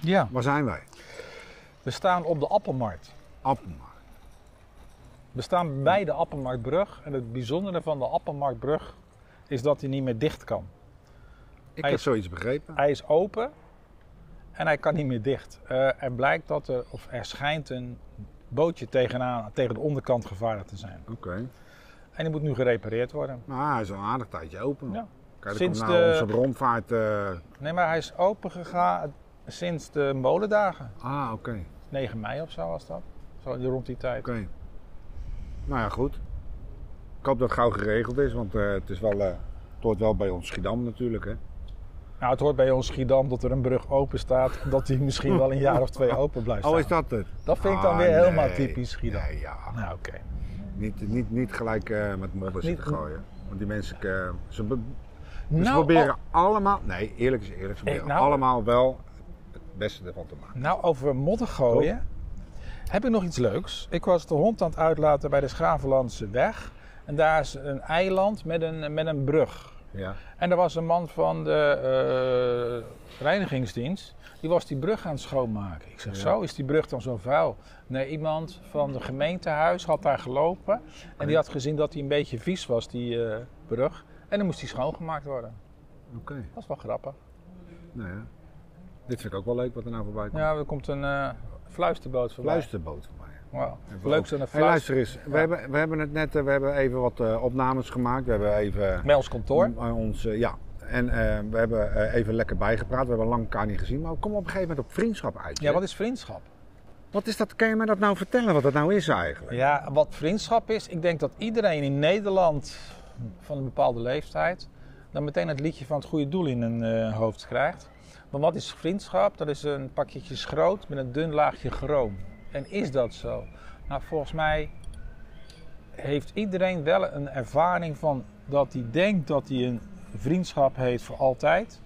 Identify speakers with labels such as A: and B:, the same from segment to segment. A: Ja.
B: Waar zijn wij?
A: We staan op de Appelmarkt.
B: Appelmarkt.
A: We staan bij de Appelmarktbrug. En het bijzondere van de Appelmarktbrug is dat hij niet meer dicht kan.
B: Ik
A: Hij
B: heb
A: is-
B: zoiets begrepen.
A: Hij is open en hij kan niet meer dicht. Eh, er blijkt dat er, of er schijnt een bootje tegenaan, tegen de onderkant gevaren te zijn.
B: Oké.
A: En die moet nu gerepareerd worden.
B: Maar hij is al een aardig tijdje open.
A: Ja.
B: Kijk,
A: Sinds
B: Sinds komt nou
A: de-
B: onze rondvaart. eh,
A: Nee, maar hij is open gegaan sinds de molendagen.
B: Ah, oké.
A: 9 mei of zo was dat. Zo rond die tijd.
B: Oké. Nou ja, goed. Ik hoop dat het gauw geregeld is, want eh, het, is wel, eh, het hoort wel bij ons Schiedam natuurlijk. Hè?
A: Nou, het hoort bij ons Schiedam dat er een brug open staat. Dat die misschien wel een jaar of twee open blijft staan.
B: Oh, is dat het?
A: Dat vind ik dan
B: Ah,
A: weer helemaal
B: nee.
A: typisch Schiedam.
B: Nee, ja.
A: Nou, oké.
B: Niet, niet, niet gelijk eh, met modder zitten
A: Niet-
B: gooien. Want die mensen, eh, ze, be- ze
A: Nou,
B: Dus proberen allemaal, nee eerlijk is eerlijk, ze proberen
A: nou-
B: allemaal wel het beste ervan te maken.
A: o- nou, over modder gooien.
B: Oh.
A: Heb ik nog iets leuks? Ik was de hond aan het uitlaten bij de Schravenlandse weg. En daar is een eiland met een, met een brug.
B: Ja.
A: En er was een man van de eh, reinigingsdienst. Die was die brug aan het schoonmaken. Ik zeg, zo is die brug dan zo vuil? Nee, iemand van het gemeentehuis had daar gelopen. En die had gezien dat die een beetje vies was, die eh, brug. En dan moest die schoongemaakt worden.
B: Oké,
A: Dat is wel grappig.
B: nou ja. Dit vind ik ook wel leuk wat er nou voorbij komt.
A: Ja, er komt een eh, fluisterboot voorbij.
B: Fluisterboot voor mij.
A: Wow.
B: Even
A: Leuk
B: op-
A: zo'n
B: Hey,
A: fluister.
B: luister eens, we, hebben, we hebben het net, eh, we hebben even wat eh, opnames gemaakt. We hebben even...
A: Bij ons kantoor.
B: om- aan ons, eh, ja. En eh, we hebben eh, even lekker bijgepraat. We hebben lang elkaar niet gezien. Maar we komen op een gegeven moment op vriendschap uit.
A: Ja,
B: hè?
A: wat is vriendschap?
B: Wat is dat? Kan je mij dat nou vertellen? Wat dat nou is eigenlijk?
A: Ja, wat vriendschap is, ik denk dat iedereen in Nederland van een bepaalde leeftijd dan meteen het liedje van het goede doel in hun eh, hoofd krijgt. Maar wat is vriendschap? Dat is een pakketje schroot met een dun laagje groom. En is dat zo? Nou, volgens mij heeft iedereen wel een ervaring van dat hij denkt dat hij een vriendschap heeft voor altijd.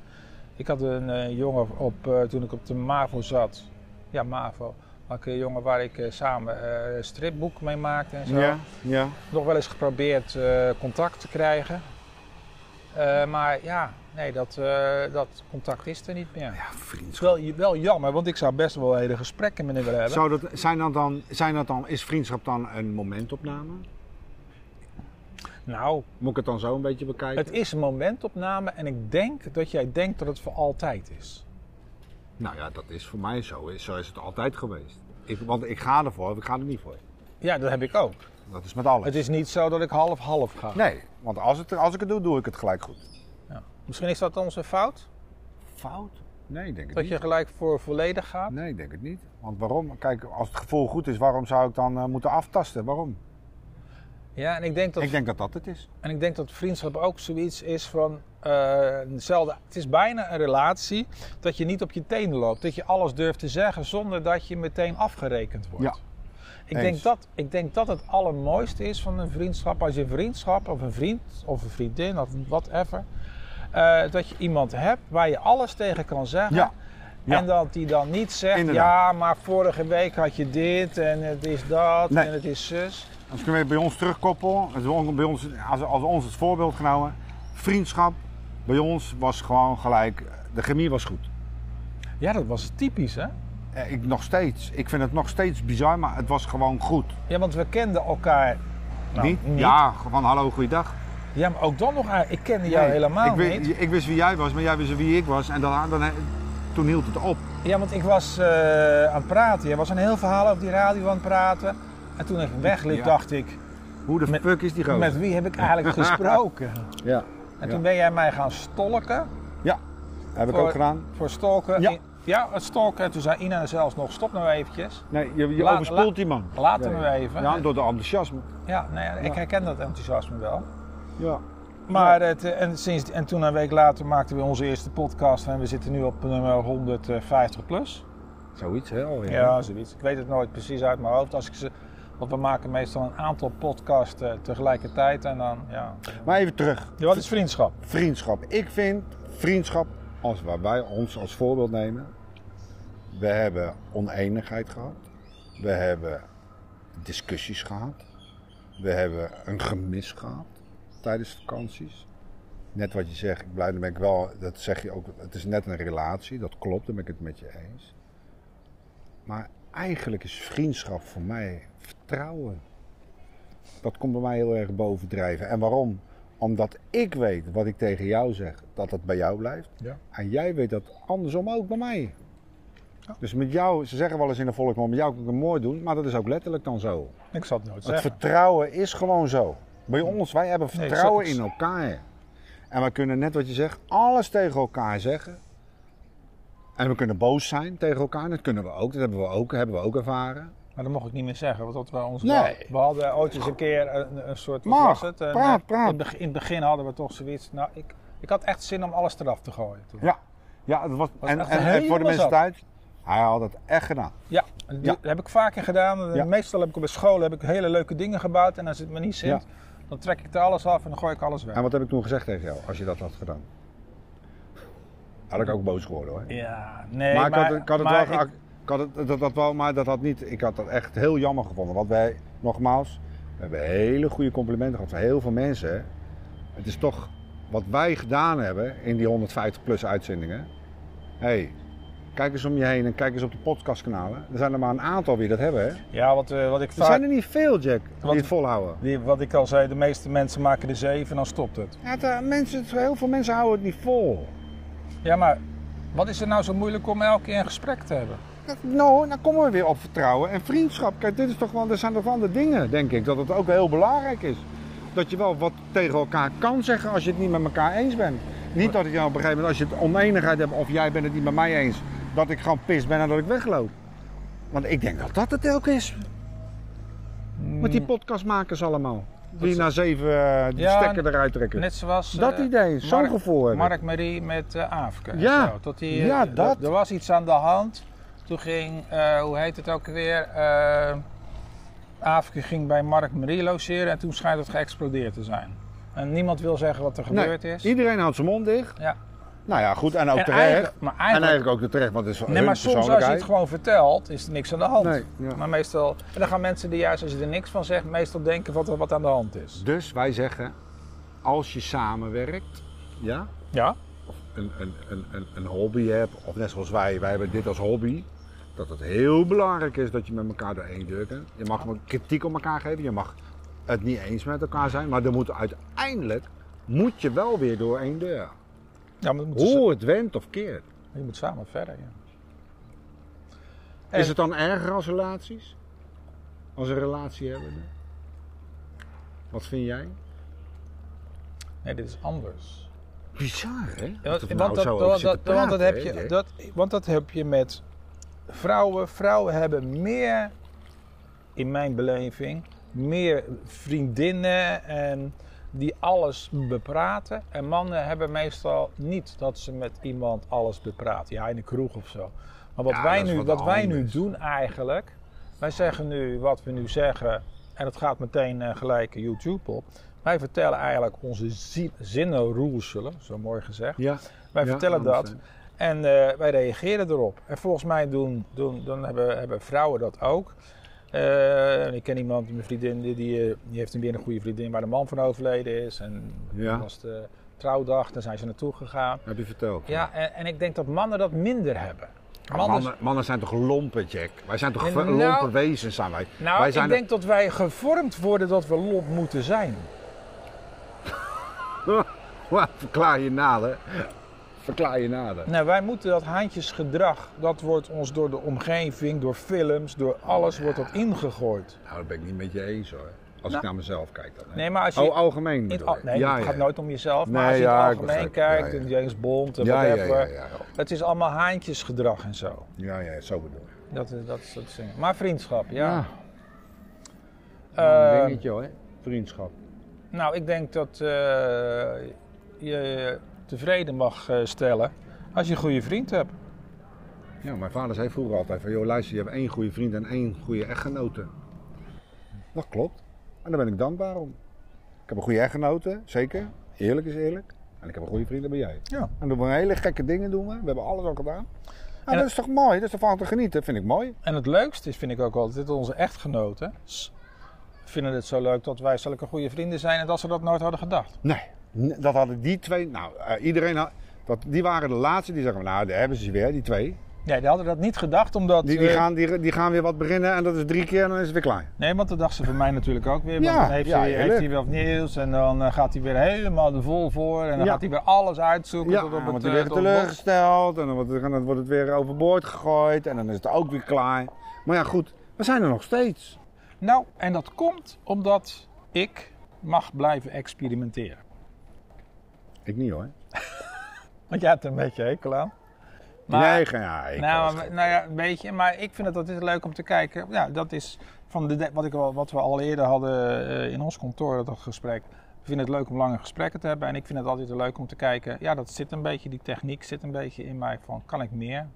A: Ik had een eh, jongen op, eh, toen ik op de MAVO zat. Ja, MAVO. Had ik een jongen waar ik eh, samen eh, een stripboek mee maakte en zo.
B: ja. ja. Nou
A: Nog wel eens geprobeerd eh, contact te krijgen. Eh, maar ja, nee, dat, eh, dat contact is er niet meer.
B: Ja,
A: Het
B: vriendschap.
A: is wel, wel jammer, want ik zou best wel hele gesprekken met hem willen hebben.
B: Zou dat, zijn dat dan, zijn dat dan, is vriendschap dan een momentopname?
A: Nou,
B: Moet ik het dan zo een beetje bekijken?
A: het is een momentopname en ik denk dat jij denkt dat het voor altijd is.
B: Nou ja, dat is voor mij zo. Zo is het altijd geweest. Ik, want ik ga ervoor of ik ga er niet voor.
A: Ja, dat heb ik ook.
B: Dat is met alles.
A: Het is niet zo dat ik half-half ga.
B: Nee, want als, het, als ik het doe, doe ik het gelijk goed.
A: Ja. Misschien is dat onze fout,
B: Fout? Nee, ik denk het
A: dat
B: niet.
A: je gelijk voor volledig gaat.
B: Nee, ik denk het niet. Want waarom? Kijk, als het gevoel goed is, waarom zou ik dan eh, moeten aftasten? Waarom?
A: Ja, en ik denk dat
B: Ik denk dat dat het is.
A: En ik denk dat vriendschap ook zoiets is van eh, hetzelfde. Het is bijna een relatie dat je niet op je tenen loopt. Dat je alles durft te zeggen zonder dat je meteen afgerekend wordt.
B: Ja.
A: Ik,
B: Eens.
A: denk dat, ik denk dat het allermooiste is van een vriendschap. Als je een vriendschap of een vriend of een vriendin of whatever. eh, dat je iemand hebt waar je alles tegen kan zeggen.
B: Ja. Ja.
A: En dat die dan niet zegt,
B: Inderdaad.
A: ja, maar vorige week had je dit en het is dat
B: Nee.
A: en het is zus.
B: Als ik hem even bij ons terugkoppel, als we- bij ons, als, als ons het voorbeeld genomen, vriendschap bij ons was gewoon gelijk, de chemie was goed.
A: Ja, dat was typisch, hè?
B: Eh, Ik nog steeds, ik vind het nog steeds bizar, maar het was gewoon goed.
A: Ja, want we kenden elkaar. nou,
B: niet? Ja, van hallo, goeiedag.
A: Ja, maar ook dan nog. eigenlijk- Ik kende jou
B: Nee,
A: helemaal
B: ik, wi-
A: niet.
B: Ik wist wie jij was, maar jij wist wie ik was en dan, dan, toen hield het op.
A: Ja, want ik was eh, aan het praten. Je was een heel verhaal op die radio aan het praten. En toen ik wegliep,
B: Ja.
A: dacht ik,
B: Hoe de
A: Met-
B: fuck is die gozer?
A: met wie heb ik eigenlijk gesproken?
B: Ja,
A: En
B: Ja.
A: toen ben jij mij gaan stalken.
B: heb ik
A: Voor-
B: ook gedaan.
A: Voor stalken.
B: Ja.
A: In- ja, het stalken. En toen zei Ina zelfs nog, stop nou eventjes.
B: Nee, je, je
A: Laat-
B: overspoelt
A: laat-
B: die man.
A: Laat hem
B: Ja,
A: weer even.
B: Ja, door de enthousiasme.
A: Ja, nou ja, ik
B: Ja.
A: herken dat enthousiasme wel.
B: Ja.
A: Maar het, eh, en, sinds, en toen een week later maakten we onze eerste podcast. En we zitten nu op nummer 150 plus.
B: Zoiets, hè? alweer.
A: Ja, zoiets. Ik weet het nooit precies uit mijn hoofd. Als ik ze, want we maken meestal een aantal podcasts eh, tegelijkertijd en dan, ja.
B: Maar even terug.
A: ja. Wat is vriendschap?
B: Vriendschap. Ik vind vriendschap, als waar wij ons als voorbeeld nemen. We hebben oneenigheid gehad. We hebben discussies gehad. We hebben een gemis gehad tijdens vakanties. Net wat je zegt, ik blijf, dan ben ik wel, dat zeg je ook, het is net een relatie, dat klopt, daar ben ik het met je eens. Maar eigenlijk is vriendschap voor mij vertrouwen. Dat komt bij mij heel erg bovendrijven. En waarom? Omdat ik weet wat ik tegen jou zeg, dat het bij jou blijft.
A: Ja.
B: En jij weet dat andersom ook bij mij. Dus met jou, ze zeggen wel eens in de volksmond, met jou kan ik het mooi doen, maar dat is ook letterlijk dan zo.
A: Ik zal het nooit
B: Het
A: zeggen.
B: vertrouwen is gewoon zo. Bij ons, wij hebben
A: Nee,
B: vertrouwen
A: zo-
B: in elkaar. En we kunnen net wat je zegt, alles tegen elkaar zeggen. En we kunnen boos zijn tegen elkaar, dat kunnen we ook, dat hebben we ook, hebben we ook ervaren.
A: Maar dat mocht ik niet meer zeggen, want dat was ons
B: Nee.
A: wel- We hadden ooit eens een keer een, een soort... wat
B: Mag.
A: was het? Een-
B: Praat,
A: eh,
B: praat.
A: In, beg- in het begin hadden we toch zoiets... Nou, ik, ik had echt zin om alles eraf te gooien toen.
B: Ja, ja dat was,
A: Was
B: en,
A: echt
B: en, en voor
A: helemaal
B: de mensen
A: zat.
B: thuis, hij had het echt gedaan.
A: Ja, dat
B: Ja.
A: heb ik vaker gedaan.
B: Ja.
A: Meestal heb ik op de school heb ik hele leuke dingen gebouwd en als het me niet zit, dan trek ik er alles af en dan gooi ik alles weg.
B: En wat heb ik toen gezegd tegen jou, als je dat had gedaan? Had ik ook boos geworden hoor.
A: Ja, nee,
B: maar
A: maar,
B: ik had, het- ik had het
A: maar
B: wel, geac- ik had het, dat, dat wel, maar dat had niet, ik had dat echt heel jammer gevonden. Want wij, nogmaals, we hebben hele goede complimenten gehad van heel veel mensen. hè. Het is toch wat wij gedaan hebben in die 150 plus uitzendingen. Hé, hey, kijk eens om je heen en kijk eens op de podcastkanalen. Er zijn er maar een aantal die dat hebben. Hè? Er
A: Ja, wat, eh, wat ik vaak...
B: zijn er niet veel, Jack, die
A: Want-
B: het volhouden.
A: die- wat ik al zei, de meeste mensen maken er zeven en dan stopt het.
B: Ja, het, eh, mensen, heel veel mensen houden het niet vol.
A: Ja, maar wat is er nou zo moeilijk om elke keer een gesprek te hebben?
B: Nou, dan komen we weer op vertrouwen en vriendschap. Kijk, dit is toch wel, er zijn toch wel andere dingen, denk ik, dat het ook heel belangrijk is. Dat je wel wat tegen elkaar kan zeggen als je het niet met elkaar eens bent. Niet dat ik dan op een gegeven moment, als je het oneenigheid hebt of jij bent het niet met mij eens, dat ik gewoon pist ben en dat ik wegloop. Want ik denk dat dat het ook is. Met die podcastmakers allemaal. Die na zeven eh, de
A: Hmm. Ja,
B: stekker eruit trekken.
A: Net zoals... eh,
B: dat idee, zo'n
A: Mark-
B: gevoel hebben.
A: Mark Marie met eh Aafke. en
B: Ja,
A: zo. Tot die, eh,
B: ja,
A: d-
B: dat.
A: Er was iets aan de hand. Toen ging, eh, hoe heet het ook weer? eh Aafke ging bij Mark Marie logeren en toen schijnt het geëxplodeerd te zijn. En niemand wil zeggen wat er
B: Nee,
A: gebeurd is.
B: Iedereen houdt zijn mond dicht.
A: Ja.
B: Nou ja, goed, en ook
A: En
B: terecht.
A: eigenlijk- maar
B: En
A: eigenlijk,
B: eigenlijk ook de terecht, want het is
A: nee, maar soms als je het gewoon vertelt, is er niks aan de hand.
B: Nee, ja.
A: Maar meestal, en dan gaan mensen die juist als je er niks van zegt, meestal denken wat er wat aan de hand is.
B: Dus wij zeggen, als je samenwerkt, ja,
A: Ja?
B: een, een, een, een, een hobby hebt, of net zoals wij, wij hebben dit als hobby, dat het heel belangrijk is dat je met elkaar doorheen durken. Je mag wel kritiek op elkaar geven, je mag het niet eens met elkaar zijn, maar er moet uiteindelijk moet je wel weer door één deur.
A: ja maar dat moet
B: Hoe het went of keert.
A: Je moet samen verder, ja.
B: Is het dan erger als relaties? Als een relatie hebben? Wat vind jij?
A: Nee, dit is anders.
B: Bizar, hè?
A: Ja, want,
B: we nou
A: want dat,
B: zo over
A: want,
B: zitten
A: dat, want dat
B: praten,
A: heb
B: hè,
A: je,
B: Jack?
A: dat, want dat heb je met vrouwen. Vrouwen hebben meer, in mijn beleving, meer vriendinnen en die alles bepraten. En mannen hebben meestal niet dat ze met iemand alles bepraten. Ja, in de kroeg of zo. Maar wat,
B: Ja,
A: wij,
B: dat is
A: nu,
B: wat
A: wat wij nu
B: anders.
A: doen eigenlijk, wij zeggen nu wat we nu zeggen. En dat gaat meteen eh, gelijk YouTube op. Wij vertellen eigenlijk onze zi- zinnenroerselen, zo mooi gezegd.
B: Ja.
A: Wij
B: Ja,
A: vertellen
B: anders,
A: dat en eh, wij reageren erop. En volgens mij doen, doen, dan hebben, hebben vrouwen dat ook. Eh, en ik ken iemand, mijn vriendin, die, die, eh, die heeft weer een goede vriendin waar de man van overleden is. En
B: Ja.
A: dat was de trouwdag, daar zijn ze naartoe gegaan.
B: Heb je verteld?
A: Ja, en, en ik denk dat mannen dat minder hebben.
B: Mannen, mannen zijn toch lompen, Jack? Wij zijn toch
A: Nou,
B: ver- lompe wezens, zijn wij?
A: nou,
B: wij zijn
A: ik denk dat wij gevormd worden dat we lomp moeten zijn.
B: Wat, Verklaar je naden. Verklaar je naden.
A: Nou, wij moeten dat haantjesgedrag, dat wordt ons door de omgeving, door films, door alles wordt dat ingegooid.
B: Nou, dat ben ik niet met je eens, hoor. Als ik
A: Nou.
B: naar mezelf kijk dan. hè.
A: Nee, maar als je
B: oh, algemeen
A: In het,
B: bedoel
A: al-
B: je?
A: nee,
B: ja,
A: het
B: ja.
A: gaat nooit om jezelf. Maar
B: Nee,
A: als je in
B: ja,
A: het
B: ik
A: algemeen
B: begrijp het.
A: kijkt,
B: Ja, ja.
A: James Bond en
B: Ja, ja,
A: whatever.
B: ja, ja, ja.
A: Het is allemaal haantjesgedrag en zo.
B: Ja, ja, zo bedoel ik.
A: Dat, is- dat is dat zingen. Maar vriendschap, ja.
B: Ja,
A: Ehm,
B: een dingetje, hoor. Vriendschap.
A: nou, ik denk dat eh, je tevreden mag eh, stellen als je een goede vriend hebt.
B: Ja, mijn vader zei vroeger altijd van, joh, luister, je hebt één goede vriend en één goede echtgenote. Dat klopt. En daar ben ik dankbaar om. Ik heb een goede echtgenote, zeker. Eerlijk is eerlijk. En ik heb een goede vriend, dat ben jij.
A: Ja.
B: En we doen hele gekke dingen doen we. We hebben alles al gedaan. Nou,
A: En-
B: dat is toch mooi? Dat is toch van te genieten? vind ik mooi.
A: En het leukste is, vind ik ook altijd, dat onze echtgenoten s- vinden het zo leuk dat wij zulke goede vrienden zijn en dat ze dat nooit hadden gedacht.
B: Nee, n- dat hadden die twee... Nou, eh, iedereen had... Dat, die waren de laatste die zeggen, nou, daar hebben ze ze weer, die twee.
A: Nee, die hadden dat niet gedacht, omdat...
B: Die, die,
A: eh,
B: gaan, die, die gaan weer wat beginnen en dat is drie keer en dan is het weer klaar.
A: Nee, want dat dacht ze voor mij natuurlijk ook weer. Want
B: Ja,
A: dan heeft,
B: ja,
A: hij, heeft
B: heerlijk.
A: hij weer wat nieuws en dan eh, gaat hij weer helemaal er vol voor. En dan
B: Ja.
A: gaat hij weer alles uitzoeken
B: Ja,
A: tot op
B: dan wordt
A: het...
B: hij
A: eh,
B: weer
A: tot op het bot.
B: teleurgesteld en dan wordt, het- dan wordt het weer overboord gegooid en dan is het ook weer klaar. Maar ja, goed, we zijn er nog steeds.
A: Nou, en dat komt omdat ik mag blijven experimenteren.
B: Ik niet hoor.
A: Want jij hebt er een beetje hekel aan.
B: nee, geen, ja, ik
A: nou,
B: was-
A: maar- nou ja, een beetje. Maar ik vind het dat is leuk om te kijken. Ja, dat is van de, de- wat, ik, al- wat we al eerder hadden eh, in ons kantoor, dat gesprek. We vinden het leuk om lange gesprekken te hebben. En ik vind het altijd leuk om te kijken. Ja, dat zit een beetje, die techniek zit een beetje in mij. Van, kan ik meer?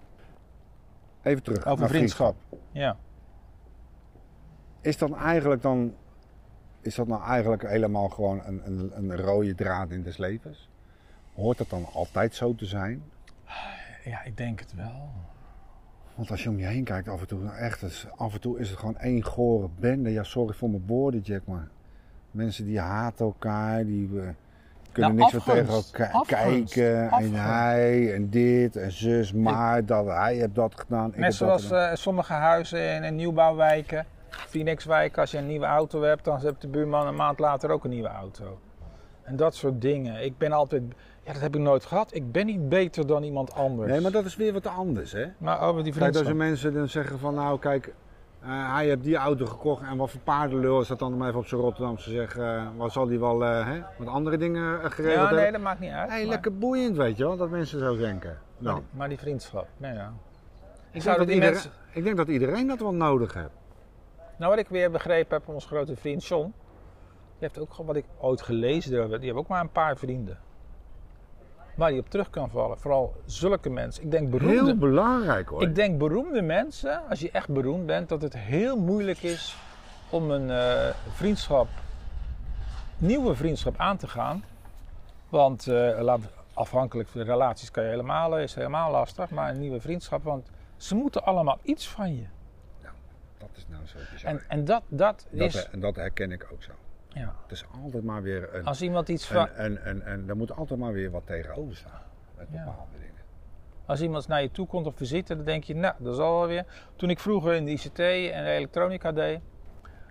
B: even terug.
A: Over
B: naar
A: vriendschap. Ja.
B: Is dat eigenlijk dan, is dat nou eigenlijk helemaal gewoon een, een, een rode draad in des levens? Hoort dat dan altijd zo te zijn?
A: Ja, ik denk het wel.
B: Want als je om je heen kijkt af en toe, nou echt, het is- af en toe is het gewoon één gore bende. Ja, sorry voor mijn woorden, Jack, maar mensen die haten elkaar, die eh, kunnen niks
A: Nou,
B: meer
A: afgunst.
B: tegen elkaar
A: Afgunst.
B: kijken.
A: Afgunst.
B: En hij, en dit, en zus, maar dat, hij heeft dat gedaan. ik
A: Net
B: heb dat
A: zoals
B: gedaan.
A: eh, sommige huizen in, in nieuwbouwwijken, Phoenixwijken, als je een nieuwe auto hebt, dan heeft de buurman een maand later ook een nieuwe auto. En dat soort dingen. Ik ben altijd, ja, dat heb ik nooit gehad. Ik ben niet beter dan iemand anders.
B: Nee, maar dat is weer wat anders, hè?
A: Maar over die
B: Kijk, als er
A: eh, vriendschap.
B: mensen dan zeggen van, nou kijk, eh, hij heeft die auto gekocht en wat voor paardenlul is dat dan om even op zijn Rotterdamse zeggen. eh, wat zal die wel eh, hè, wat andere dingen eh, geregeld
A: Ja, nee,
B: hebben?
A: dat maakt niet uit.
B: Hey,
A: maar,
B: lekker boeiend, weet je wel, dat mensen zo denken.
A: maar,
B: Nou,
A: die, maar die vriendschap, nee, ja. Ik
B: ik,
A: zou
B: denk
A: dat
B: dat
A: die
B: iedereen,
A: mensen...
B: ik denk dat iedereen dat wel nodig heeft.
A: Nou, wat ik weer begrepen heb van onze grote vriend John. Die heeft ook gewoon wat ik ooit gelezen heb. Die hebben ook maar een paar vrienden. Waar die op terug kan vallen. Vooral zulke mensen. Ik denk beroemde,
B: Heel belangrijk hoor.
A: Ik denk beroemde mensen, als je echt beroemd bent, dat het heel moeilijk is om een eh, vriendschap, nieuwe vriendschap aan te gaan. Want eh, laat- afhankelijk van de relaties kan je helemaal, is helemaal lastig, maar een nieuwe vriendschap, want ze moeten allemaal iets van je.
B: Dat is nou zo bizar.
A: En, en dat, dat
B: dat,
A: is,
B: en dat herken ik ook zo.
A: ja,
B: Het is altijd maar weer een...
A: als iemand iets van,
B: En, en, en, en er moet altijd maar weer wat tegenover staan. Met
A: Ja.
B: bepaalde dingen.
A: Als iemand naar je toe komt op visite, dan denk je, nou, dat is alweer. Toen ik vroeger in de ICT en de elektronica deed,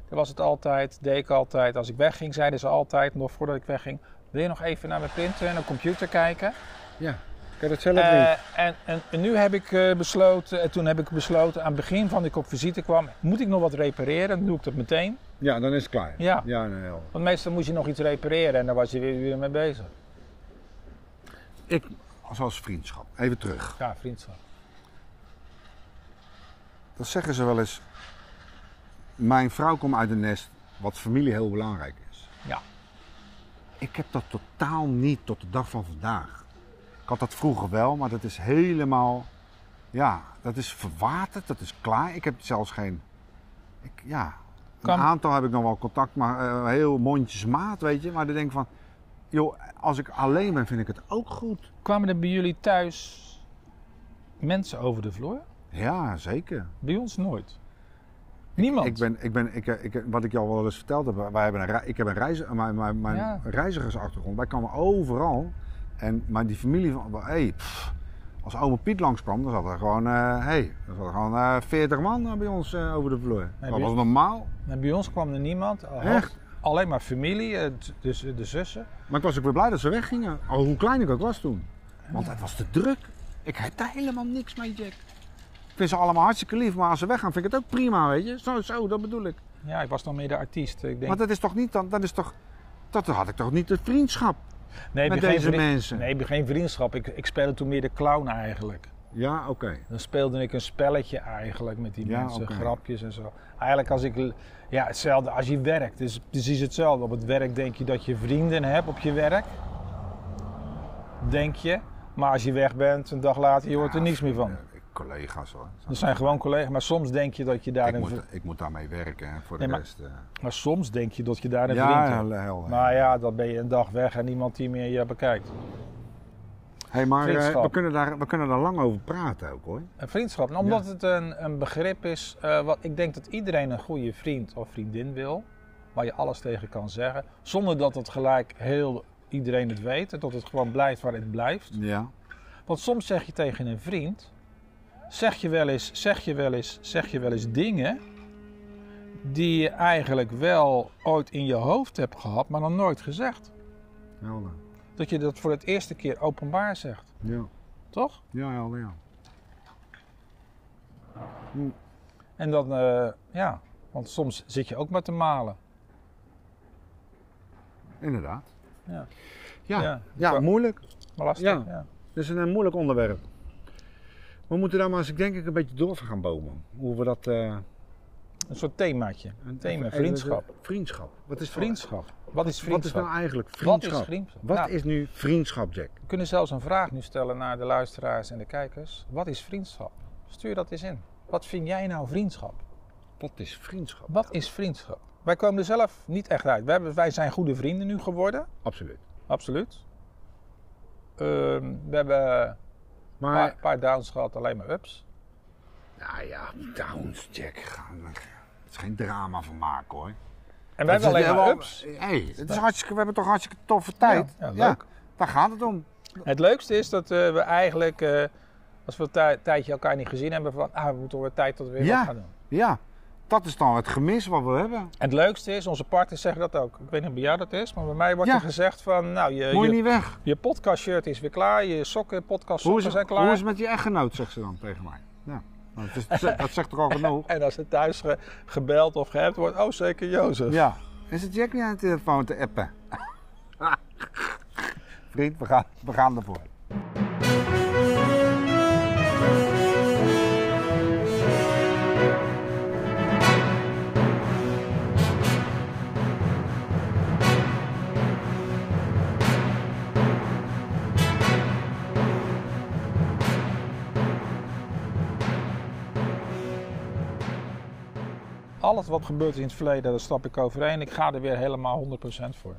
A: dan was het altijd, deed ik altijd. Als ik wegging, zeiden ze altijd, nog voordat ik wegging, wil je nog even naar mijn printer en een computer kijken?
B: Ja, kan je dat zelf
A: Eh,
B: niet?
A: en, en, en nu heb ik eh, besloten, en toen heb ik besloten, aan het begin van dat ik op visite kwam, moet ik nog wat repareren? Dan doe ik dat meteen.
B: Ja, dan is het klaar.
A: Ja.
B: Ja, nou, heel.
A: Want meestal moest je nog iets repareren en dan was je weer uren mee bezig.
B: Ik, zoals vriendschap, even terug.
A: Ja, vriendschap.
B: Dat zeggen ze wel eens. Mijn vrouw komt uit een nest wat familie heel belangrijk is.
A: Ja.
B: Ik heb dat totaal niet tot de dag van vandaag. Ik had dat vroeger wel, maar dat is helemaal. Ja, dat is verwaterd, dat is klaar. Ik heb zelfs geen. Ik, ja,
A: Kan-
B: een aantal heb ik nog wel contact, maar eh, heel mondjesmaat, weet je. Maar dan denk ik van, joh, als ik alleen ben, vind ik het ook goed.
A: Kwamen er bij jullie thuis mensen over de vloer?
B: Ja, zeker.
A: Bij ons nooit. Niemand.
B: Ik ben, ik ben, ik, eh, ik, wat ik jou al wel eens verteld heb, wij hebben een, rei- ik heb een reiz, mijn, mijn, mijn
A: Ja.
B: reizigersachtergrond. Wij kwamen overal. En, maar die familie van, hé, hey, pff, als oma Piet langskwam, dan zat er gewoon, eh hey, dan zat er gewoon eh 40 man eh, bij ons eh, over de vloer.
A: bij-
B: dat was normaal.
A: Nou, bij ons kwam er niemand. Al-
B: Echt?
A: Alleen maar familie, eh, t- dus eh, de zussen.
B: Maar ik was ook weer blij dat ze weggingen, al hoe klein ik ook was toen. Want het was te druk. Ik heb daar helemaal niks mee, Jack. Ik vind ze allemaal hartstikke lief, maar als ze weggaan vind ik het ook prima, weet je. Zo, zo dat bedoel ik.
A: Ja, ik was dan meer de artiest. Ik denk,
B: Maar dat is toch niet, dan, dat is toch, dat had ik toch niet de vriendschap.
A: nee,
B: met
A: bij geen
B: deze
A: vriend-
B: mensen.
A: Nee, bij geen vriendschap. Ik, ik speelde toen meer de clown eigenlijk.
B: Ja, oké.
A: Dan speelde ik een spelletje eigenlijk met die
B: Ja,
A: mensen,
B: oké.
A: grapjes en zo. Eigenlijk als ik, l- ja, hetzelfde als je werkt. Het is precies hetzelfde. Op het werk denk je dat je vrienden hebt op je werk. Denk je. Maar als je weg bent, een dag later, je hoort er
B: Ja,
A: niks meer van.
B: eh, collega's hoor.
A: Dat zijn gewoon collega's, maar soms denk je dat je daar
B: ik,
A: een
B: moet,
A: vri-
B: ik moet daarmee werken hè, voor de
A: Nee, maar-
B: rest. eh.
A: Maar soms denk je dat je daar een vriend
B: ja, hel,
A: hebt.
B: hel,
A: Maar ja, dan ben je een dag weg en niemand die meer je bekijkt.
B: Hey, maar eh,
A: vriendschap.
B: we, kunnen daar, we kunnen daar lang over praten ook hoor.
A: Een vriendschap, nou, omdat het een, een begrip is, eh, wat ik denk dat iedereen een goede vriend of vriendin wil, waar je alles tegen kan zeggen, zonder dat het gelijk heel iedereen het weet en dat het gewoon blijft waar het blijft.
B: Ja.
A: Want soms zeg je tegen een vriend, zeg je wel eens, zeg je wel eens, zeg je wel eens dingen die je eigenlijk wel ooit in je hoofd hebt gehad, maar nog nooit gezegd.
B: Helder.
A: Dat je dat voor het eerste keer openbaar zegt,
B: Ja,
A: toch?
B: ja, helder, ja.
A: En dan, eh, ja, want soms zit je ook maar te malen.
B: Inderdaad.
A: Ja.
B: Ja,
A: Ja.
B: ja. moeilijk.
A: Maar lastig,
B: Ja.
A: ja.
B: Dat is een, eh, moeilijk onderwerp. We moeten daar maar eens, denk ik, een beetje door van gaan bomen. Hoe we dat... eh,
A: Een soort themaatje.
B: een
A: Thema,
B: even-
A: vriendschap.
B: even- vriendschap. Wat is
A: Vriendschap. Wat is
B: Wat is
A: vriendschap?
B: nou eigenlijk
A: Wat
B: vriendschap?
A: is vriendschap?
B: Wat
A: Nou,
B: is nu vriendschap, Jack?
A: We kunnen zelfs een vraag nu stellen naar de luisteraars en de kijkers. Wat is vriendschap? Stuur dat eens in. Wat vind jij nou vriendschap?
B: Wat is vriendschap?
A: Wat is vriendschap? Wij komen er zelf niet echt uit. Wij, hebben- wij zijn goede vrienden nu geworden.
B: Absoluut.
A: Absoluut. Ehm, we hebben een
B: Maar,
A: paar, paar downs gehad, alleen maar ups.
B: nou ja, downs, Jack. Ga weg. Het is geen drama van maken, hoor.
A: En wij hebben
B: Het is
A: alleen maar
B: wel-
A: ups.
B: Hey, het is hartstikke, we hebben toch hartstikke toffe tijd.
A: Ja, ja, leuk.
B: daar gaat het om.
A: Het leukste is dat eh, we eigenlijk, eh, als we een tij- tijdje elkaar niet gezien hebben, van ah, we moeten weer tijd tot we weer
B: Ja.
A: wat gaan doen.
B: Ja, dat is dan het gemis wat we hebben.
A: En het leukste is, onze partners zeggen dat ook. Ik weet niet of bij jou dat is, maar bij mij wordt
B: Ja.
A: er gezegd van, nou, je,
B: Moet je
A: je,
B: niet weg.
A: je podcastshirt is weer klaar, je sokken, podcast
B: Hoe is,
A: sokken
B: het,
A: zijn klaar.
B: hoe is het met je echtgenoot, zegt ze dan tegen mij. Ja. Nou, het is- dat zegt- dat zegt toch al genoeg?
A: En als er thuis ge- gebeld of geappt wordt, oh zeker Jozef.
B: Ja. Is het Jack niet aan de telefoon te appen? Vriend, we gaan, we gaan ervoor.
A: Alles wat gebeurd is in het verleden, daar stap ik overheen. Ik ga er weer helemaal 100% voor.